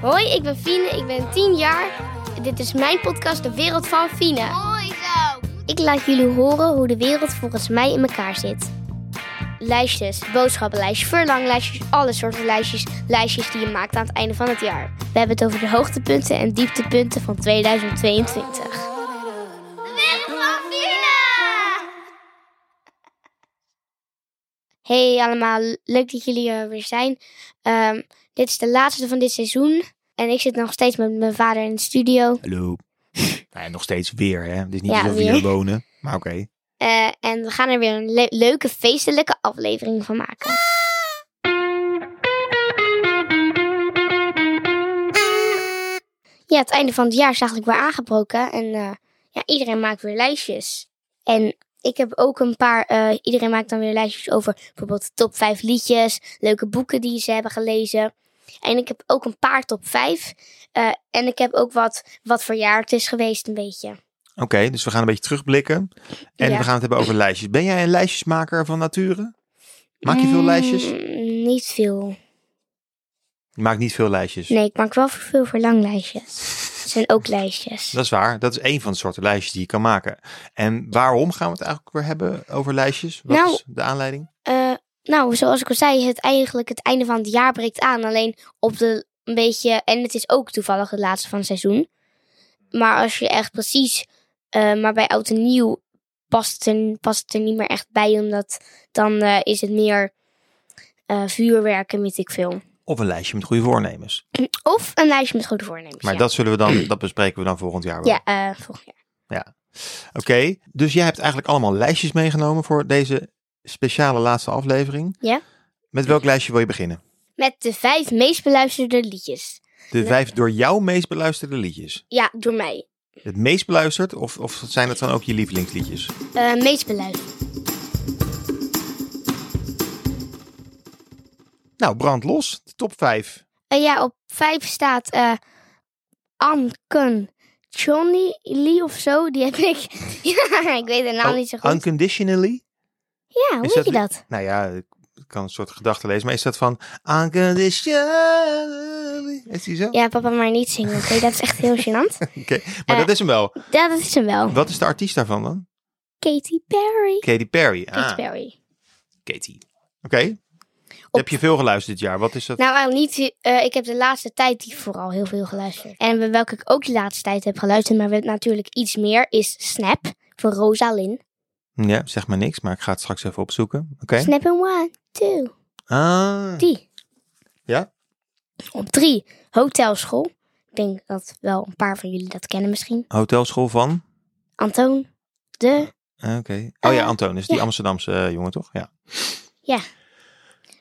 Hoi, ik ben Fine, ik ben 10 jaar. Dit is mijn podcast De Wereld van Fine. Mooi zo. Ik laat jullie horen hoe de wereld volgens mij in elkaar zit. Lijstjes, boodschappenlijstjes, verlanglijstjes, alle soorten lijstjes. Lijstjes die je maakt aan het einde van het jaar. We hebben het over de hoogtepunten en dieptepunten van 2022. De wereld van Fina. Hey allemaal, leuk dat jullie er weer zijn. Ehm, dit is de laatste van dit seizoen. En ik zit nog steeds met mijn vader in de studio. Hallo. nou ja, nog steeds weer, hè? Het is niet Ja, alsof we weer. hier wonen. Maar oké. Eh, en we gaan er weer een le- leuke feestelijke aflevering van maken. Ja, het einde van het jaar is eigenlijk weer aangebroken. En eh, ja, iedereen maakt weer lijstjes. En ik heb ook een paar. eh, iedereen maakt dan weer lijstjes over bijvoorbeeld de top 5 liedjes, leuke boeken die ze hebben gelezen. En ik heb ook een paar top 5. eh, en ik heb ook wat, wat voor jaar het is geweest, een beetje. Oké, dus we gaan een beetje terugblikken. En Ja. we gaan het hebben over lijstjes. Ben jij een lijstjesmaker van nature? Maak je veel lijstjes? Mm, niet veel. Je maakt niet veel lijstjes. Nee, ik maak wel veel verlanglijstjes. Het zijn ook lijstjes. Dat is waar. Dat is één van de soorten lijstjes die je kan maken. En waarom gaan we het eigenlijk weer hebben over lijstjes? Wat Nou- is de aanleiding? Eh, nou, zoals ik al zei, het, eigenlijk het einde van het jaar breekt aan. Alleen op de een beetje. En het is ook toevallig het laatste van het seizoen. Maar als je echt precies. eh, maar bij oud en nieuw past het, er, past het er niet meer echt bij. Omdat dan eh, is het meer eh vuurwerk en weet ik veel. Of een lijstje met goede voornemens. Of een lijstje met goede voornemens. Maar ja, dat zullen we dan, dat bespreken we dan volgend jaar wel. ja eh, volgend jaar. Oké, dus jij hebt eigenlijk allemaal lijstjes meegenomen voor deze speciale laatste aflevering. Ja. Met welk lijstje wil je beginnen? Met de vijf meest beluisterde liedjes. De vijf door jou meest beluisterde liedjes. Ja, door mij. Het meest beluisterd of, of zijn dat dan ook je lievelingsliedjes? Eh, meest beluisterd. Nou, brand los. De top vijf. Eh, ja, op vijf staat eh Anken Johnny Lee of zo. Die heb ik. ja, ik weet de naam Oh, niet zo goed. Unconditionally? ja, hoe is weet je dat- dat? Nou ja, ik kan een soort gedachte lezen. Maar is dat van Unconditionally? Is die zo? Ja, papa, maar niet zingen. Oké, dat is echt heel gênant. Oké, maar Eh. dat is hem wel. Ja, dat is hem wel. Wat is de artiest daarvan dan? Katy Perry. Katy Perry. Katy Ah, Perry. Katy. Oké. Heb je veel geluisterd dit jaar? Wat is dat? Nou, eh, niet, eh, ik heb de laatste tijd die vooral heel veel geluisterd. En bij welke ik ook de laatste tijd heb geluisterd, maar natuurlijk iets meer, is Snap van Rosalyn. Ja, zeg maar niks, maar ik ga het straks even opzoeken. Oké. Snap in one, two, Ah, three. ja? Op drie, hotelschool. Ik denk dat wel een paar van jullie dat kennen misschien. Hotelschool van? Antoon, de... Ah, Oké. Oh ja, Eh, Antoon is die ja. Amsterdamse eh, jongen, toch? Ja. Ja.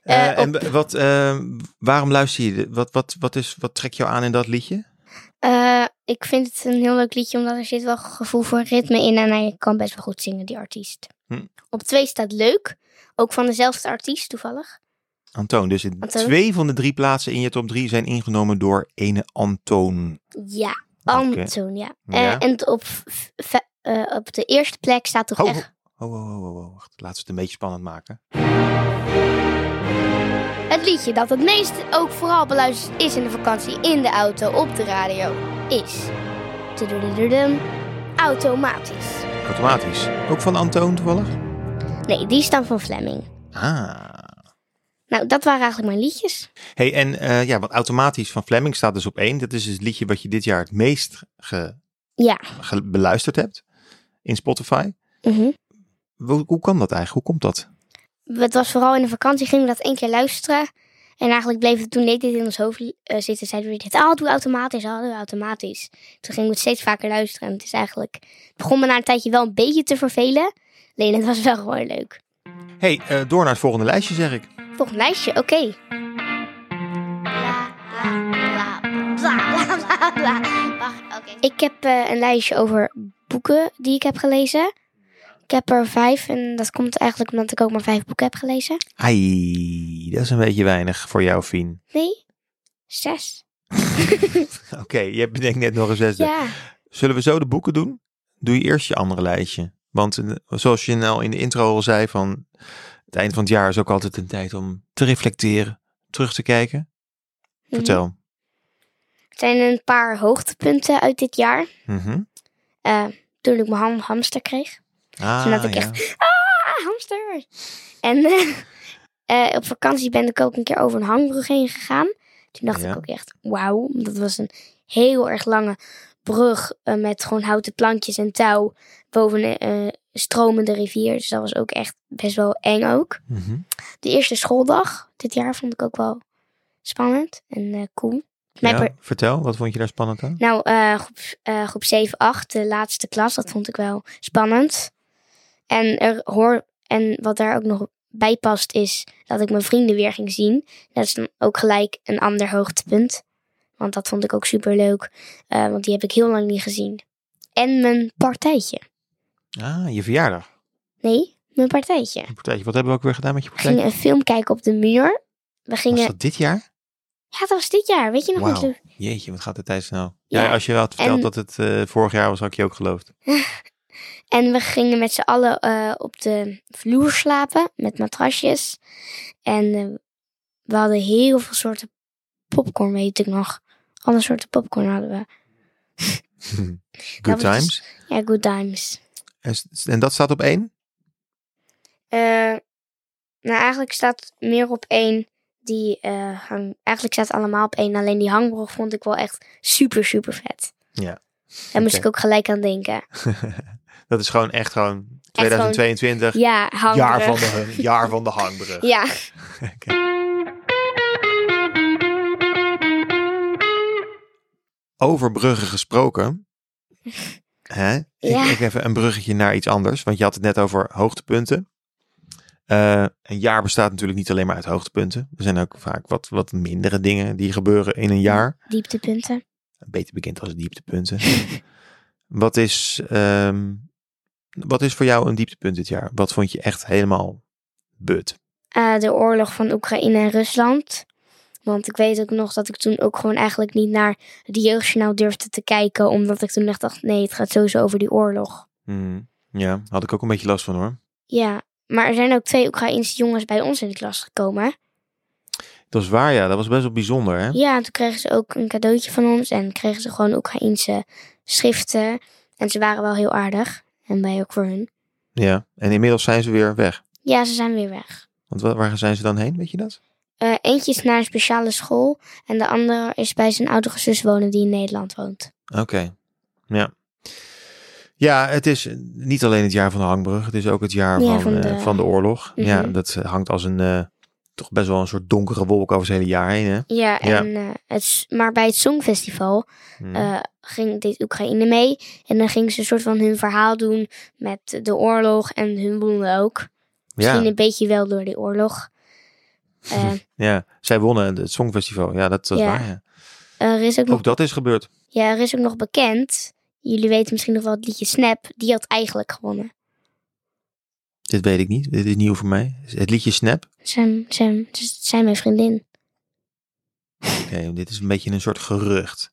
Eh, Eh, en w- wat, eh, waarom luister je? dit? Wat, wat, wat, is, wat trekt jou aan in dat liedje? Eh, ik vind het een heel leuk liedje, omdat er zit wel gevoel voor ritme in. En hij kan best wel goed zingen, die artiest. Hm. Op twee staat Leuk. Ook van dezelfde artiest, toevallig. Antoon, dus in Antoon. twee van de drie plaatsen in je top drie zijn ingenomen door ene Antoon. Ja, Oké. Antoon, ja. Eh, Ja. en op, v- v- eh, op de eerste plek staat toch Ho, ho, echt... ho, ho, ho, ho, wacht. Laten we het een beetje spannend maken. Het liedje dat het meest ook vooral beluisterd is in de vakantie, in de auto, op de radio, is. Tudududum, automatisch. Automatisch. Ook van Antoon toevallig? Nee, die is dan van Fleming. Ah. Nou, dat waren eigenlijk mijn liedjes. Hey, en eh, ja, want automatisch van Fleming staat dus op één. Dat is het liedje wat je dit jaar het meest ge- Ja. ge- beluisterd hebt in Spotify. Mhm. Hoe, hoe kan dat eigenlijk? Hoe komt dat? Het was vooral in de vakantie, gingen we dat één keer luisteren. En eigenlijk bleef het toen deed dit in ons hoofd eh, zitten. Zeiden we dit, ah, doe automatisch, ah, doe automatisch. Toen gingen we het steeds vaker luisteren. En het is eigenlijk, het begon me na een tijdje wel een beetje te vervelen. Alleen het was wel gewoon leuk. Hey, eh, door naar het volgende lijstje zeg ik. Volgend lijstje, oké. Bla bla bla bla bla. Wacht, oké. Ik heb eh, een lijstje over boeken die ik heb gelezen. Ik heb er vijf en dat komt eigenlijk omdat ik ook maar vijf boeken heb gelezen. Ai, dat is een beetje weinig voor jou, Fien. Nee, zes. Oké, je hebt bedenkt net nog een zesde. Ja, Zullen we zo de boeken doen? Doe je eerst je andere lijstje. Want eh, zoals je nou in de intro al zei, van het eind van het jaar is ook altijd een tijd om te reflecteren, terug te kijken. Mhm. Vertel. Hmm. Er zijn een paar hoogtepunten uit dit jaar. Mhm. Eh, toen ik mijn ham- hamster kreeg. Ah, Toen had ik ja. echt- Ah, hamster! En eh, eh, op vakantie ben ik ook een keer over een hangbrug heen gegaan. Toen dacht Ja. ik ook echt, wauw. Dat was een heel erg lange brug eh, met gewoon houten plankjes en touw boven een eh, stromende rivier. Dus dat was ook echt best wel eng ook. Mhm. De eerste schooldag dit jaar vond ik ook wel spannend en eh, cool. Mijn Ja, per- Vertel, wat vond je daar spannend aan? nou, eh, groep, eh, groep 7, 8, de laatste klas, dat vond ik wel spannend. En, er hoor, en wat daar ook nog bij past is dat ik mijn vrienden weer ging zien. Dat is dan ook gelijk een ander hoogtepunt. Want dat vond ik ook superleuk, eh, want die heb ik heel lang niet gezien. En mijn partijtje. Ah, je verjaardag. Nee, mijn partijtje. Een partijtje. Wat hebben we ook weer gedaan met je We partijtje? gingen een film kijken op de muur. We Was gingen... dat dit jaar? Ja, dat was dit jaar. Weet je nog Wauw. niet? Lu? Jeetje, wat gaat de tijd snel. Ja, Ja, als je had verteld en- dat het eh, vorig jaar was, had ik je ook geloofd. En we gingen met z'n allen eh, op de vloer slapen met matrasjes. En eh, we hadden heel veel soorten popcorn, weet ik nog. Alle soorten popcorn hadden we. Good was dus- times. Ja, good times. En, s- en dat staat op één? Eh, nou, eigenlijk staat meer op één die eh, hang... Eigenlijk staat het allemaal op één. Alleen die hangbrug vond ik wel echt super, super vet. Ja. Daar moest Oké. ik ook gelijk aan denken. Dat is gewoon echt gewoon gewoon- 2022, Ja, hangbrug. jaar, van de, hang- jaar van de hangbrug. Ja. Oké. Over bruggen gesproken. Hè? Ja. Ik, ik even een bruggetje naar iets anders. Want je had het net over hoogtepunten. Eh, een jaar bestaat natuurlijk niet alleen maar uit hoogtepunten. Er zijn ook vaak wat, wat mindere dingen die gebeuren in een jaar. Dieptepunten. Beter bekend als dieptepunten. wat, is, ehm, wat is voor jou een dieptepunt dit jaar? Wat vond je echt helemaal but? eh, de oorlog van Oekraïne en Rusland. Want ik weet ook nog dat ik toen ook gewoon eigenlijk niet naar het jeugdjournaal durfde te kijken. Omdat ik toen echt dacht, nee, het gaat sowieso over die oorlog. Hmm, Ja, had ik ook een beetje last van hoor. Ja, maar er zijn ook twee Oekraïnse jongens bij ons in de klas gekomen. hè? Dat is waar, ja. Dat was best wel bijzonder, hè? Ja, en toen kregen ze ook een cadeautje van ons. En kregen ze gewoon Oekraïnse schriften. En ze waren wel heel aardig. En wij ook voor hun. Ja. En inmiddels zijn ze weer weg. Ja, ze zijn weer weg. Want wa- waar zijn ze dan heen, weet je dat? Eh, eentje is naar een speciale school. En de andere is bij zijn oudere zus wonen die in Nederland woont. Oké. Ja. Ja, het is niet alleen het jaar van de hangbrug. Het is ook het jaar Ja, van, eh, van van, de... de- oorlog. Mhm. Ja, dat hangt als een... eh, toch best wel een soort donkere wolk over het hele jaar heen, hè? Ja, Ja. en, eh, het, s- maar bij het Songfestival Hmm. eh, ging dit Oekraïne mee. En dan gingen ze een soort van hun verhaal doen met de oorlog en hun wonden ook. Misschien ja, een beetje wel door die oorlog. Eh, ja, zij wonnen het Songfestival. Ja, dat, dat is Ja. waar, ja. er, is ook nog, Ook dat is gebeurd. ja, er is ook nog bekend, jullie weten misschien nog wel het liedje Snap, die had eigenlijk gewonnen. Dit weet ik niet. Dit is nieuw voor mij. Het liedje Snap. Zijn, zijn, dus zijn mijn vriendin. Oké, dit is een beetje een soort gerucht.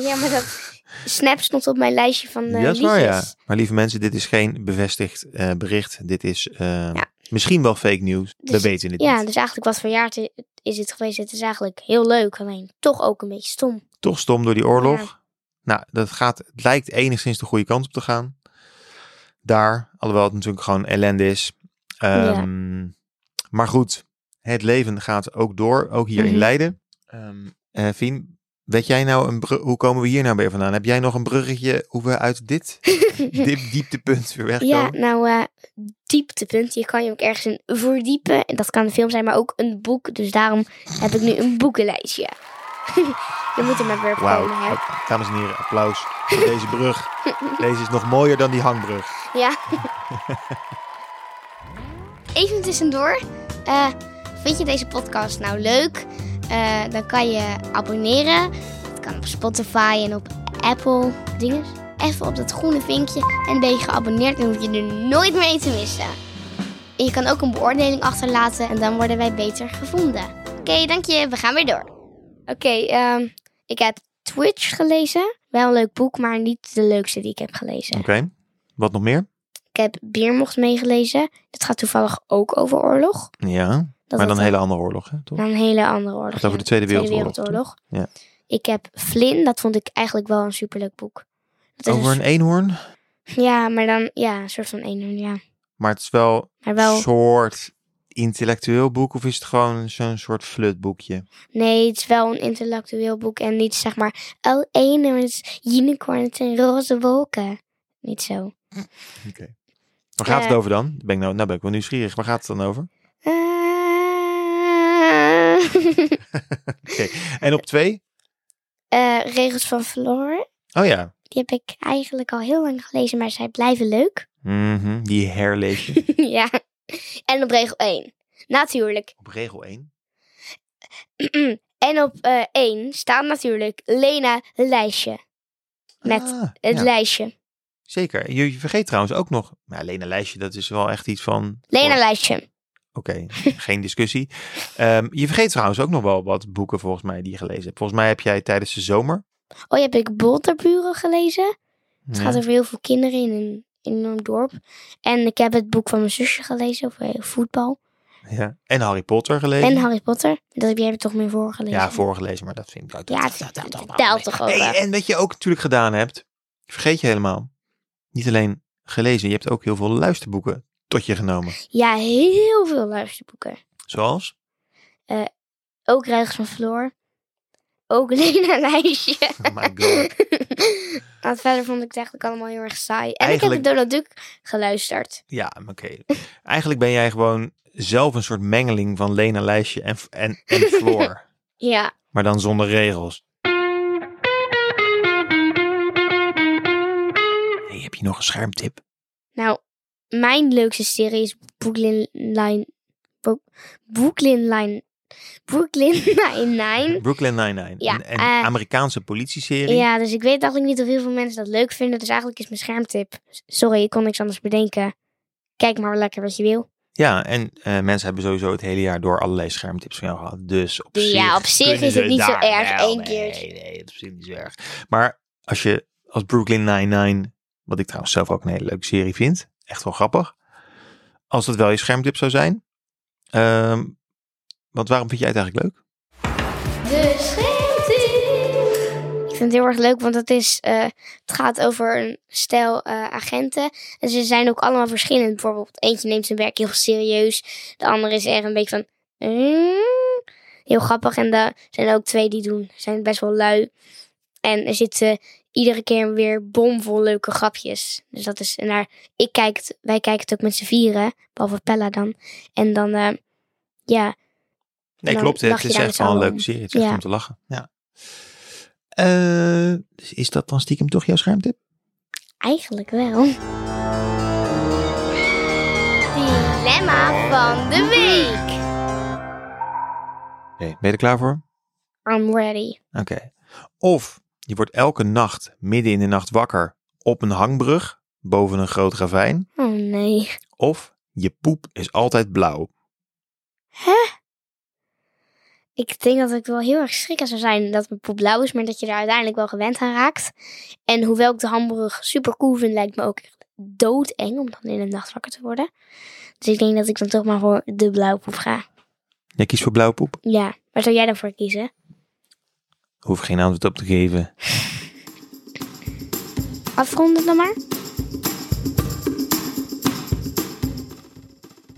ja, maar dat... Snap stond op mijn lijstje van eh ja, is liedjes. waar, ja. Maar lieve mensen, dit is geen bevestigd eh, bericht. Dit is eh, misschien wel fake news. Dus- We weten het Ja, niet. dus eigenlijk wat voor jaar te- is het geweest? Het is eigenlijk heel leuk, alleen toch ook een beetje stom. Toch stom door die oorlog. Nou, dat gaat, het lijkt enigszins de goede kant op te gaan. Daar, alhoewel het natuurlijk gewoon ellende is. Ehm, Maar goed, het leven gaat ook door, ook hier in Mhm. Leiden. Ehm eh, Fien, weet jij nou, een bru- hoe komen we hier nou weer vandaan? Heb jij nog een bruggetje hoe we uit dit, dit dieptepunt weer wegkomen? Ja, nou, eh, dieptepunt. Je kan je ook ergens in verdiepen. En dat kan een film zijn, maar ook een boek. Dus daarom heb ik nu een boekenlijstje. je moet er maar weer op Wauw, komen, hè. dames en heren, applaus voor deze brug. Deze is nog mooier dan die hangbrug. Ja. Even tussendoor. Eh, vind je deze podcast nou leuk? Eh, dan kan je abonneren. Dat kan op Spotify en op Apple dingen. Even op dat groene vinkje en ben je geabonneerd. Dan hoef je er nooit meer een te missen. En je kan ook een beoordeling achterlaten en dan worden wij beter gevonden. Oké, dank je. We gaan weer door. Oké, ehm, ik heb Twitch gelezen. Wel een leuk boek, maar niet de leukste die ik heb gelezen. Oké, wat nog meer? Ik heb Biermocht meegelezen. Dat gaat toevallig ook over oorlog. Ja, Dat maar dan het een hele andere oorlog, hè, toch? naar een hele andere oorlog. Het over ja. de Tweede Wereldoorlog. Wereldoorlog. Ik heb Flynn, dat vond ik eigenlijk wel een superleuk boek. Dat is Over een soort- eenhoorn. Ja, maar dan, ja, een soort van eenhoorn, ja. Maar het is wel Maar wel, een soort intellectueel boek. Of is het gewoon zo'n soort flutboekje? nee, het is wel een intellectueel boek en niet zeg maar, oh, eenhoorns, unicorns en roze wolken. Niet zo. Waar gaat het Eh. over dan? Ben ik nou, nou ben ik wel nieuwsgierig. Waar gaat het dan over? Eh, En op twee? eh, regels van Floor, Oh ja. die heb ik eigenlijk al heel lang gelezen, maar zij blijven leuk. Mhm, Die herleef je. ja. En op regel 1. Natuurlijk. op regel 1. en op eh 1 staat natuurlijk Lena Lijstje. Met Het lijstje. Ah, Zeker. Je, je vergeet trouwens ook nog... Nou, Lena Lijstje, dat is wel echt iets van... Lena voor- Lijstje. Oké, geen discussie. Ehm, je vergeet trouwens ook nog wel wat boeken volgens mij die je gelezen hebt. Volgens mij heb jij tijdens de zomer... Oh, heb ik Bolterburen gelezen. Het Ja. gaat over heel veel kinderen in een enorm dorp. En ik heb het boek van mijn zusje gelezen over eh, voetbal. Ja. En Harry Potter gelezen. En Harry Potter. Dat heb jij er toch meer voor gelezen? Ja, voorgelezen, maar dat vind ik... Dat, Ja, dat- het- dat- dat- het dat- dat- telt toch ook Nee, wel. en wat je ook natuurlijk gedaan hebt... Vergeet je helemaal. Niet alleen gelezen, je hebt ook heel veel luisterboeken tot je genomen. Ja, heel veel luisterboeken. Zoals? Ook Regels van Floor. Ook Lena Lijstje. Oh my god. Maar verder vond ik het eigenlijk allemaal heel erg saai. En ik heb Eigenlijk- Donald Duck geluisterd. Ja, maar oké. Eigenlijk ben jij gewoon zelf een soort mengeling van Lena Lijstje en, en, en Floor. Ja. maar dan zonder regels. Hey, heb je nog een schermtip? Nou, mijn leukste serie is Brooklyn Line... Bo- Brooklyn Line... Brooklyn Nine-Nine. Brooklyn Nine-Nine. Ja, een een eh, Amerikaanse politieserie. Ja, dus ik weet eigenlijk niet of heel veel mensen dat leuk vinden. Dus eigenlijk is mijn schermtip... Sorry, ik kon niks anders bedenken. Kijk maar lekker wat je wil. Ja, en eh, mensen hebben sowieso het hele jaar door allerlei schermtips van jou gehad. Dus op zich, Ja, op zich kunnen is het ze niet zo daar erg, wel- één keertje. Nee, nee, het is niet zo erg. Maar als je als Brooklyn Nine-Nine, wat ik trouwens zelf ook een hele leuke serie vind, echt wel grappig. Als dat wel je schermtip zou zijn. Ehm, want waarom vind jij het eigenlijk leuk? De schimmel. Ik vind het heel erg leuk, want het, is, eh, het gaat over een stijl eh, agenten. En ze zijn ook allemaal verschillend. Bijvoorbeeld, eentje neemt zijn werk heel serieus. De andere is erg een beetje van... "Mm", heel grappig. En er zijn er ook twee die doen. zijn best wel lui. En er zitten iedere keer weer bomvol leuke grapjes. Dus dat is... En daar, ik kijk het, wij kijken het ook met z'n vieren. Behalve Pella dan. En dan... eh, ja, Nee, Dan klopt. Het lach je is daar echt met wel een z'n leuke allen serie. Het is echt Ja. om te lachen. Ja. Eh, dus is dat dan stiekem toch jouw schermtip? eigenlijk wel. Dilemma van de week. Oké, ben je er klaar voor? I'm ready. Oké. Of je wordt elke nacht midden in de nacht wakker op een hangbrug boven een groot ravijn. Oh nee. Of je poep is altijd blauw. Ik denk dat ik wel heel erg schrikken zou zijn dat mijn poep blauw is, maar dat je daar uiteindelijk wel gewend aan raakt. En hoewel ik de hamburger super cool vind, lijkt me ook echt doodeng om dan in de nacht wakker te worden. Dus ik denk dat ik dan toch maar voor de blauwe poep ga. Jij kiest voor blauwe poep? Ja, waar zou jij dan voor kiezen? Hoef geen antwoord op te geven. Afronden dan maar.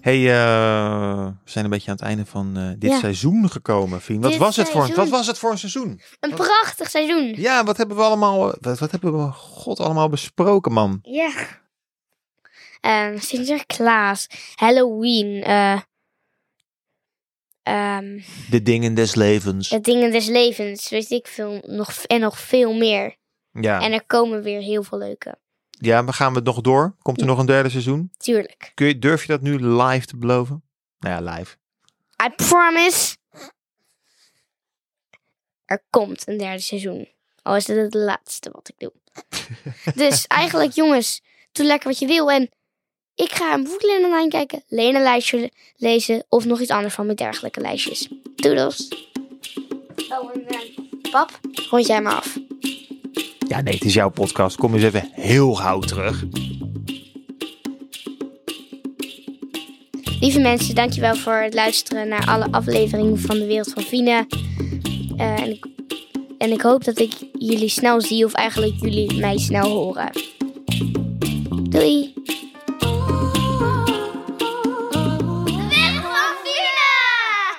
hey, eh, we zijn een beetje aan het einde van eh, dit Ja. seizoen gekomen, Fien. Wat Dit was, het voor, een- wat seizoen. was het voor een seizoen? Een prachtig seizoen. Ja, wat hebben we allemaal, wat, wat hebben we, god, allemaal besproken, man. Ja. Ehm, Sinterklaas, Halloween, eh ehm, De dingen des levens. de dingen des levens, weet ik veel, nog, en nog veel meer. Ja, En er komen weer heel veel leuke. ja maar gaan we het nog door? Komt er nog een derde seizoen? Tuurlijk. Kun je, durf je dat nu live te beloven? Nou ja, live. I promise. Er komt een derde seizoen. Al is dit het laatste wat ik doe. dus eigenlijk, jongens, doe lekker wat je wil. En ik ga een boek Lena kijken, Lena lijstje lezen of nog iets anders van mijn dergelijke lijstjes. Doedels. Oh, en eh, pap, rond jij maar af. Ja, nee, het is jouw podcast. Kom eens even heel gauw terug. Lieve mensen, dankjewel voor het luisteren naar alle afleveringen van de Wereld van Fine. Eh, en, ik, en ik hoop dat ik jullie snel zie, of eigenlijk jullie mij snel horen. Doei! Weg van Fiene!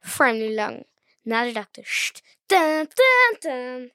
Voor nu lang. Na de dokter. Sst. Dun, dun, dun.